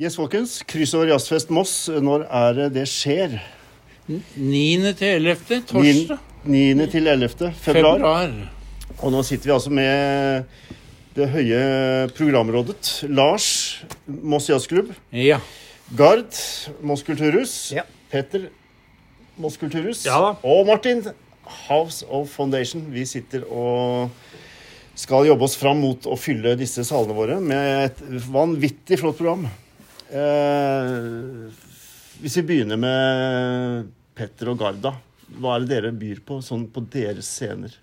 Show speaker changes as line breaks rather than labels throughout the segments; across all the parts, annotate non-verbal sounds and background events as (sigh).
Yes, folkens. Kryssord jazzfest Moss. Når er det det skjer?
9. til 11. torsdag.
9. til 11. februar.
Februar.
Og nå sitter vi altså med det høye programrådet. Lars, Moss jazzklubb.
Ja.
Gard, Moss kulturhus.
Ja.
Petter, Moss kulturhus.
Ja da.
Og Martin, House of Foundation. Vi sitter og skal jobbe oss fram mot å fylle disse salene våre med et vanvittig flott program. Eh, hvis vi begynner med Petter og Garda, hva er det dere byr på sånn på deres scener?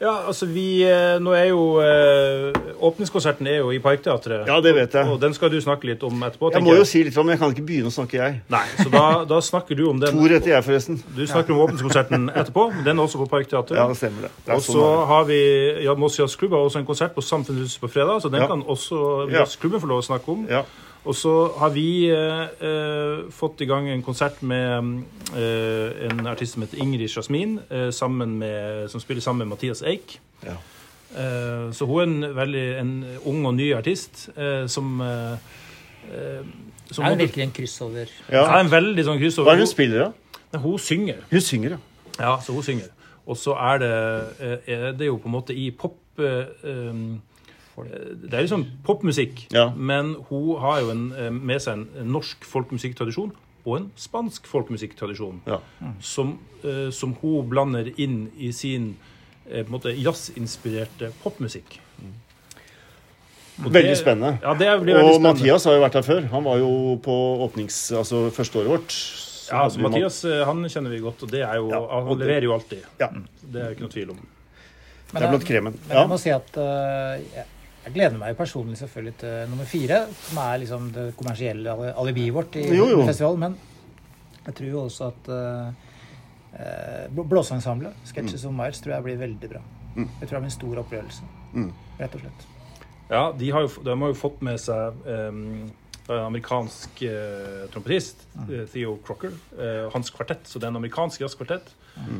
Ja, altså vi eh, Nå er jo eh, Åpningskonserten er jo i Parkteatret.
Ja, det vet jeg.
Og den skal du snakke litt om etterpå.
Jeg
tenker
må jo si litt om det, jeg kan ikke begynne å snakke, jeg.
Nei, så da, da snakker du om den.
Tor heter jeg, forresten.
Du snakker om åpningskonserten etterpå. men Den er også på Parkteatret.
Ja, det stemmer det. det er
og så
sånn det er.
har vi ja, Moss Jazzklubb har også en konsert på Samfunnshuset på fredag, så den
Ja.
kan også
Ja.
jazzklubben få lov å snakke om.
Ja.
Og så har vi eh, eh, fått i gang en konsert med mm, eh, en artist som heter Ingrid Jasmin, eh, sammen med, som spiller sammen med Mathias Eik.
Ja.
Eh, så hun er en veldig en ung og ny artist eh, som eh, eh, som
Det er
måtte-
virkelig en kryssover.
Ja,
Ja.
en veldig sånn kryss
Hva
over
er det hun spiller, da?
Hun- Hun synger.
Hun synger, ja.
Ja, så hun synger. Og så er det, eh, er det jo på en måte i pop eh, um, eh, Det er liksom popmusikk,
Ja.
men hun har jo en, eh, med seg en norsk folkemusikktradisjon og en spansk folkemusikktradisjon
ja.
som, eh, som hun blander inn i sin eh, på en måte jazzinspirerte popmusikk. Og
Veldig
det-
spennende.
Ja, det blir veldig
Og
spennende.
Mathias har jo vært her før. Han var jo på åpnings... Altså første året vårt. Så
ja,
hadde
altså,
vi Mat-
Mathias Mm. eh, han kjenner vi godt, og det er jo,
Ja, og
han
det-
leverer jo alltid.
Ja,
Det er jo ikke noe tvil om.
Men
det er
jeg-
blant kremen.
Men
Ja.
jeg må si at eh, jeg, jeg gleder meg jo personlig selvfølgelig til nummer fire, som er liksom det kommersielle ali- alibiet vårt i
Jo, jo.
festivalen. Men jeg tror jo også at eh, eh, bl- blåseensemblet, Sketches
Mm.
on Mars, tror jeg blir veldig bra. Jeg tror det blir en stor opplevelse.
Mm.
Rett og slett.
Ja, de har jo, f- de har jo fått med seg em, en amerikansk eh, trompetist, eh, Theo Crocker, eh, hans kvartett. Så det er en amerikansk jazzkvartett.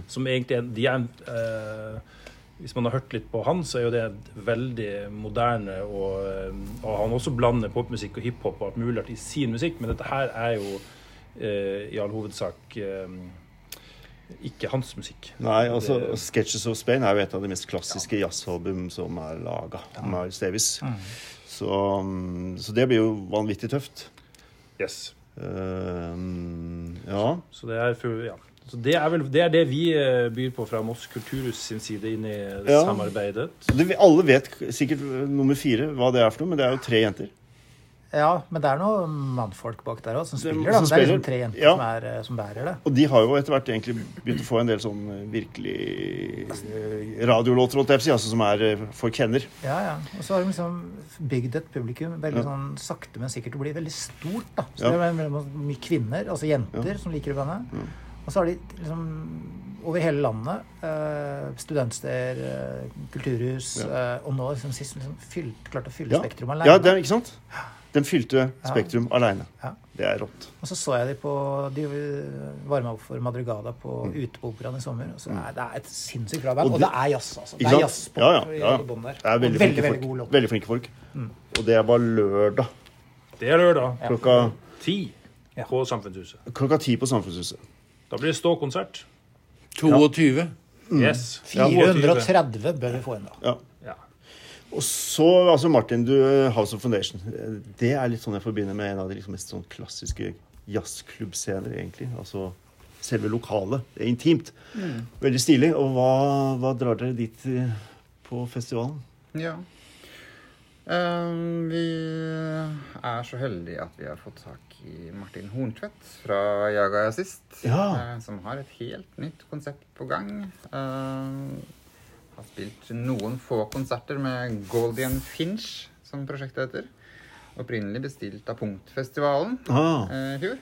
Som egentlig er, de er en, eh, Hvis man har hørt litt på han, så er jo det veldig moderne. Og, eh, og han også blander popmusikk og hiphop og alt mulig rart i sin musikk, men dette her er jo eh, i all hovedsak em, ikke hans musikk.
Nei, altså Sketches of Spain er jo et av de mest klassiske jazzalbum som er laga. Miles Davis. Så, mm, så det blir jo vanvittig tøft.
Yes.
Ehm, ja.
Så det er, full- ja. så det, er vel, det er det vi eh, byr på fra Moss kulturhus sin side inn i
Ja.
samarbeidet.
Det, alle vet k- sikkert eh, nummer fire hva det er for noe, men det er jo tre jenter.
Ja, men det er noen mannfolk bak der òg som
Det er som
spiller. Da. Det er
spiller.
liksom tre jenter
Ja.
som, er, eh, som bærer det.
Og de har jo etter hvert egentlig begynt å få en del sånn eh, virkelig eh, radiolåter, holdt jeg på å si, altså som er eh, for kenner.
Ja, ja. Og så har de liksom bygd et publikum veldig sånn sakte, men sikkert. Det blir veldig stort, da. Så
Ja.
det er veldig mye kvinner, altså jenter, som liker det bandet. Og så har de liksom over hele landet. Eh, studentsteder, eh, kulturhus. Eh, og nå liksom sist liksom, fylt, klart å fylle
Ja.
Spektrum alene.
Ja, det er, ikke sant? Den fylte Spektrum aleine.
Ja.
Det er rått.
Og så så jeg de på De varma opp for Madrugada på Utebooperaen i sommer. Og så er, det er et sinnssykt bra band.
Mm. Og
Og,
de-
det er jazz, altså. Det
Ikke
er
sant?
jazzpop
ja, ja,
i-
ja.
i bånn der.
Det er veldig,
og veldig, Mm.
flinke
veldig
folk.
god låt.
Veldig flinke folk. Og det var lørdag
Det er lørdag
klokka,
ti
Ja.
på Samfunnshuset.
klokka ti på Samfunnshuset.
Da blir det ståkonsert.
22.
Mm.
Yes. Ja,
430 bør vi få inn, da.
Ja.
Ja.
Og så, altså Martin, du, House of Foundation. eh, Det er litt sånn jeg forbinder med en av de liksom mest sånn klassiske jazzklubbscener, egentlig. Altså selve lokalet. Det er intimt. Veldig stilig. Og hva, hva drar dere dit eh, på festivalen?
Ja. Ehm, vi er så heldige at vi har fått tak i Martin Horntvedt fra Jaga Jazzist.
Ja.
eh, som har et helt nytt konsept på gang. Ehm, har spilt noen få konserter med Goldian Finch, som prosjektet heter. Opprinnelig bestilt av Punktfestivalen
Ah,
eh, i fjor.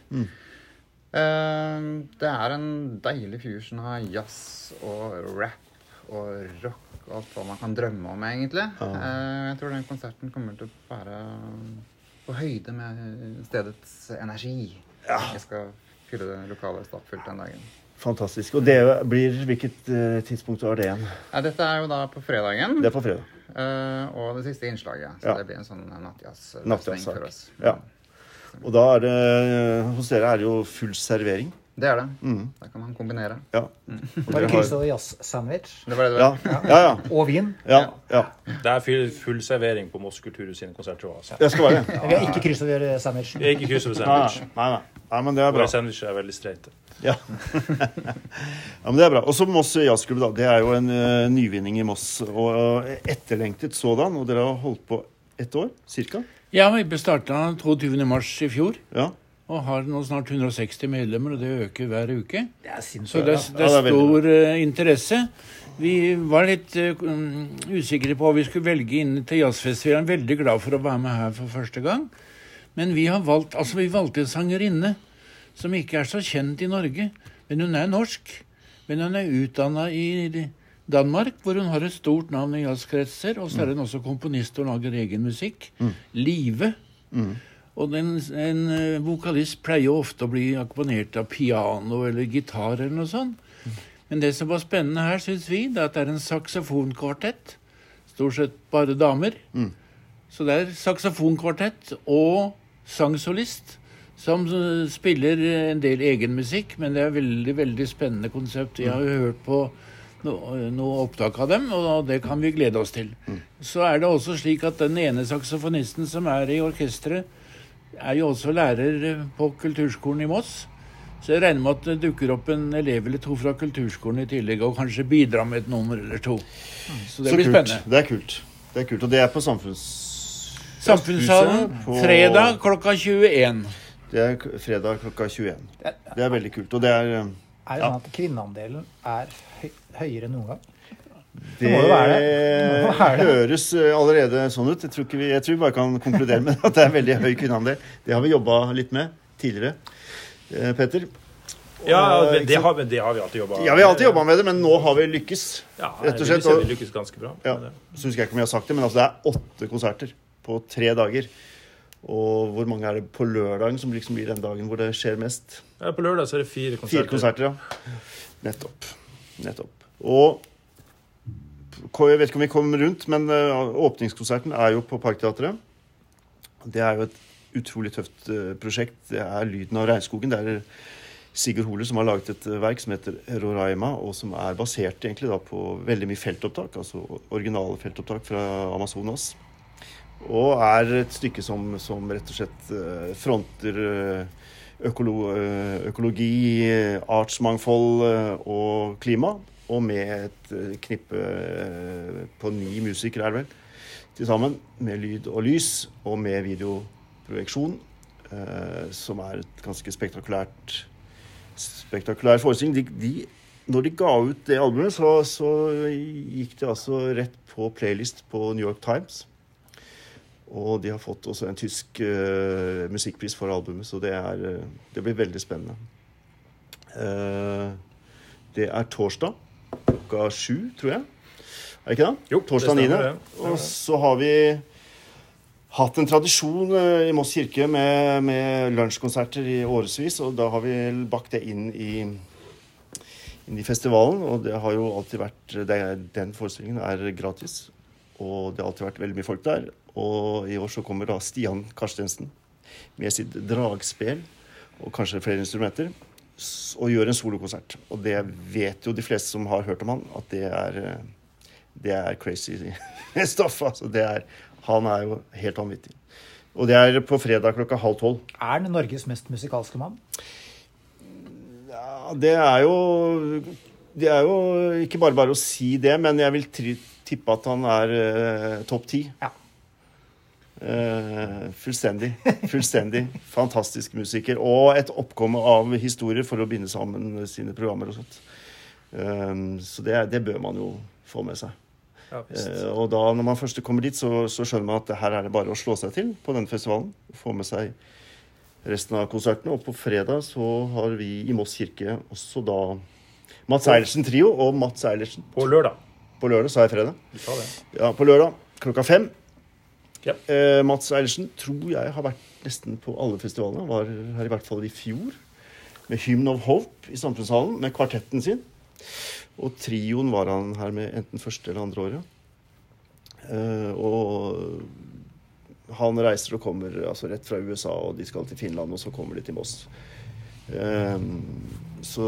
Eh, det er en deilig fusion av jazz og rap og rock og alt hva man kan drømme om, egentlig. Eh, jeg tror den konserten kommer til å være på høyde med stedets energi. Jeg skal fylle det lokalet stappfullt den dagen.
fantastisk. Og det blir Hvilket eh, tidspunkt var det igjen?
Ja, dette er jo da på fredagen
Det er på fredag.
eh, og det siste innslaget. Så
Ja.
det blir en sånn nattjazz-løsning
Nattjazz.
for oss.
Ja. Og da er det eh, Hos dere er det jo full servering.
Det er det.
Mm.
Da kan man kombinere.
Ja. Og
Bare
dere
kryss over jazz-sandwich.
Det var det det
ja,
var.
ja, ja,
Og vin.
ja, ja.
Det er full, full servering på Moss kulturhus sine konserter òg. Altså.
Jeg skal være det.
Men Vi har ikke kryss over sandwichen.
Ikke kryss over
Nei,
sandwich.
nei, nei. nei, men det Ah, er bra.
Våre sandwicher er veldig streite.
Ja. ja, men det er bra. Og så Moss Jazzklubb, da. Det er jo en eh, nyvinning i Moss. Og eh, etterlengtet sådan. Og dere har holdt på ett år, cirka?
Ja, vi starta 22. mars i fjor
Ja.
og har nå snart 160 medlemmer, og det øker hver uke.
Det er
Så
sinnssykt.
det,
Ja,
er-
det
det
er
er
veldig
stor eh, interesse. Vi var litt eh, um, usikre på hva vi skulle velge inn til jazzfestivalen. Veldig glad for å være med her for første gang. Men vi har valgt, altså vi valgte en sangerinne som ikke er så kjent i Norge. Men hun er norsk. Men hun er utdanna i Danmark, hvor hun har et stort navn i jazzkretser. Og så er hun også komponist og lager egen musikk. Live. Og den, en eh, vokalist pleier jo ofte å bli akkompagnert av piano eller gitar eller noe sånt. Men det som var spennende her, syns vi, det er at det er en saksofonkvartett. Stort sett bare damer. Så det er saksofonkvartett og sangsolist som eh, spiller eh, en del egen musikk, men det er veldig, veldig spennende konsept. Jeg har jo hørt på noe, noe opptak av dem, og det kan vi glede oss til. Så er det også slik at den ene saksofonisten som er i orkesteret, er jo også lærer eh, på kulturskolen i Moss. Så jeg regner med at det dukker opp en elev eller to fra kulturskolen i tillegg, og kanskje bidrar med et nummer eller to. Så det
Så
blir
kult.
spennende.
Det er kult. Det er kult. Og det er på Samfunns...
Samfunnssalen
På-
fredag klokka 21.
Det er k- fredag klokka 21. Det er veldig kult. Og det er eh,
Er det sånn at kvinneandelen er høy- høyere enn noen gang?
Det,
må jo være det. Det må være det.
høres eh, allerede sånn ut. Jeg tror, ikke vi, jeg tror vi bare kan konkludere med at det er veldig høy kvinneandel. Det har vi jobba litt med tidligere, eh, Petter.
Ja, det, det,
ikke
har, vi- det har vi alltid jobba
Ja, vi har alltid jobba med det, men nå har vi lykkes.
Ja,
rett og
vi
slett,
lykkes-
og-
Vi lykkes ganske bra. med
Ja,
det.
så husker jeg ikke om jeg har sagt det, men altså det er åtte konserter på tre dager. Og hvor mange er det på lørdagen som liksom blir den dagen hvor det skjer mest?
Ja, På lørdag så er det fire
Fire
konserter.
konserter, ja. Nettopp. Nettopp. Og ko- jeg vet ikke om vi kommer rundt, men eh, åpningskonserten er jo på Parkteatret. Det er jo et utrolig tøft eh, prosjekt. Det er lyden av regnskogen. Det er eh, Sigurd Hole som har laget et eh, verk som heter Roraima, og som er basert egentlig da på veldig mye feltopptak, altså originale feltopptak fra Amazonas. Og er et stykke som, som rett og slett eh, fronter eh, økolo, eh, økologi, eh, artsmangfold eh, og klima. Og med et eh, knippe eh, på ni musikere, er det vel, til sammen. Med lyd og lys, og med videoprojeksjon. eh, Som er et ganske spektakulært spektakulær forestilling. De, de, når de ga ut det albumet, så, så gikk det altså rett på playlist på New York Times. Og de har fått også en tysk eh, musikkpris for albumet, så det, er, eh, det blir veldig spennende. Eh, det er torsdag klokka sju, tror jeg. Er det ikke det?
Jo, det
torsdag
stemmer
9.
det. Ja, ja.
Og så har vi hatt en tradisjon eh, i Moss kirke med, med lunsjkonserter i årevis, og da har vi bakt det inn i, inn i festivalen. Og det har jo alltid vært det, er- Den forestillingen er gratis, og det har alltid vært veldig mye folk der. Og i år så kommer da Stian Karstensen med sitt dragspel og kanskje flere instrumenter. s- Og gjør en solokonsert. Og det vet jo de fleste som har hørt om han, at det er eh, det er crazy (laughs) stuff. Altså, det er, han er jo helt vanvittig. Og det er på fredag klokka halv tolv.
Er han Norges mest musikalske mann?
Ja, det er jo Det er jo ikke bare bare å si det, men jeg vil tri tippe at han er eh, topp ti.
Ja.
Eh, fullstendig. Fullstendig fantastisk musiker. Og et oppkomme av historier for å binde sammen sine programmer og sånt. Eh, så det, det bør man jo få med seg.
Ja, visst.
Eh, og da, når man først kommer dit, så, så skjønner man at det her er det bare å slå seg til på denne festivalen. Få med seg resten av konsertene. Og på fredag så har vi i Moss kirke også da Mats Eilertsen Trio og Mats Eilertsen
På lørdag.
på lørdag, sa jeg fredag.
Vi tar det.
Ja, på lørdag klokka fem.
Ja.
Eh, Mats Eilertsen tror jeg har vært nesten på alle festivalene. Han Var her i hvert fall i fjor. Med Hymn of Hope i Samfunnshallen, med kvartetten sin. Og trioen var han her med enten første eller andre året. Eh, og han reiser og kommer altså, rett fra USA, og de skal til Finland, og så kommer de til Moss. Ehm, så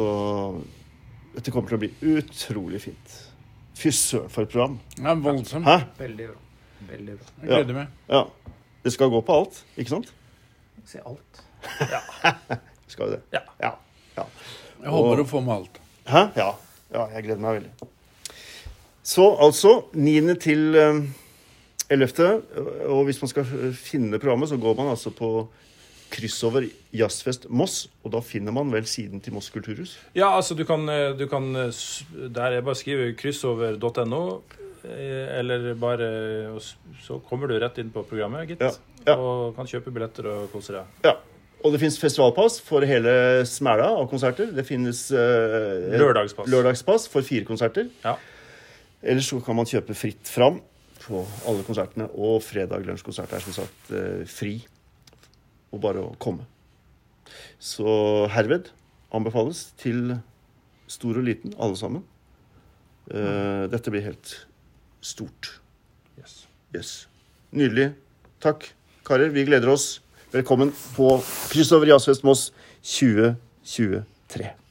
dette kommer til å bli utrolig fint. Fy søren for et program.
Ja, voldsomt.
Hæ?
Veldig bra. Veldig bra.
Jeg gleder meg.
Ja. Det skal gå på alt, ikke sant?
Se alt.
Det Skal jo det.
Ja.
ja. ja.
Jeg håper å få med alt.
Hæ? Ja. ja. Jeg gleder meg veldig. Så altså 9. til eh, 11. Og hvis man skal eh, finne programmet, så går man altså på kryssover Jazzfest Moss. Og da finner man vel siden til Moss kulturhus?
Ja, altså du kan, eh, du kan eh, s- Der er bare å skrive kryssover.no, eh, eller bare eh, og s- Så kommer du rett inn på programmet, gitt.
Ja, ja.
Og kan kjøpe billetter og kose deg.
Ja. Og det fins festivalpass for hele smæla av konserter. Det finnes eh,
Lørdagspass.
lørdagspass for fire konserter.
Ja.
Ellers så kan man kjøpe fritt fram på alle konsertene. Og fredag lunsjkonsert er som sagt eh, fri. Og bare å komme. Så herved anbefales til stor og liten, alle sammen. Eh, dette blir helt stort.
Yes.
Yes. Nydelig. Takk, karer. Vi gleder oss. Velkommen på Kryssover Jazzfest Moss 2023.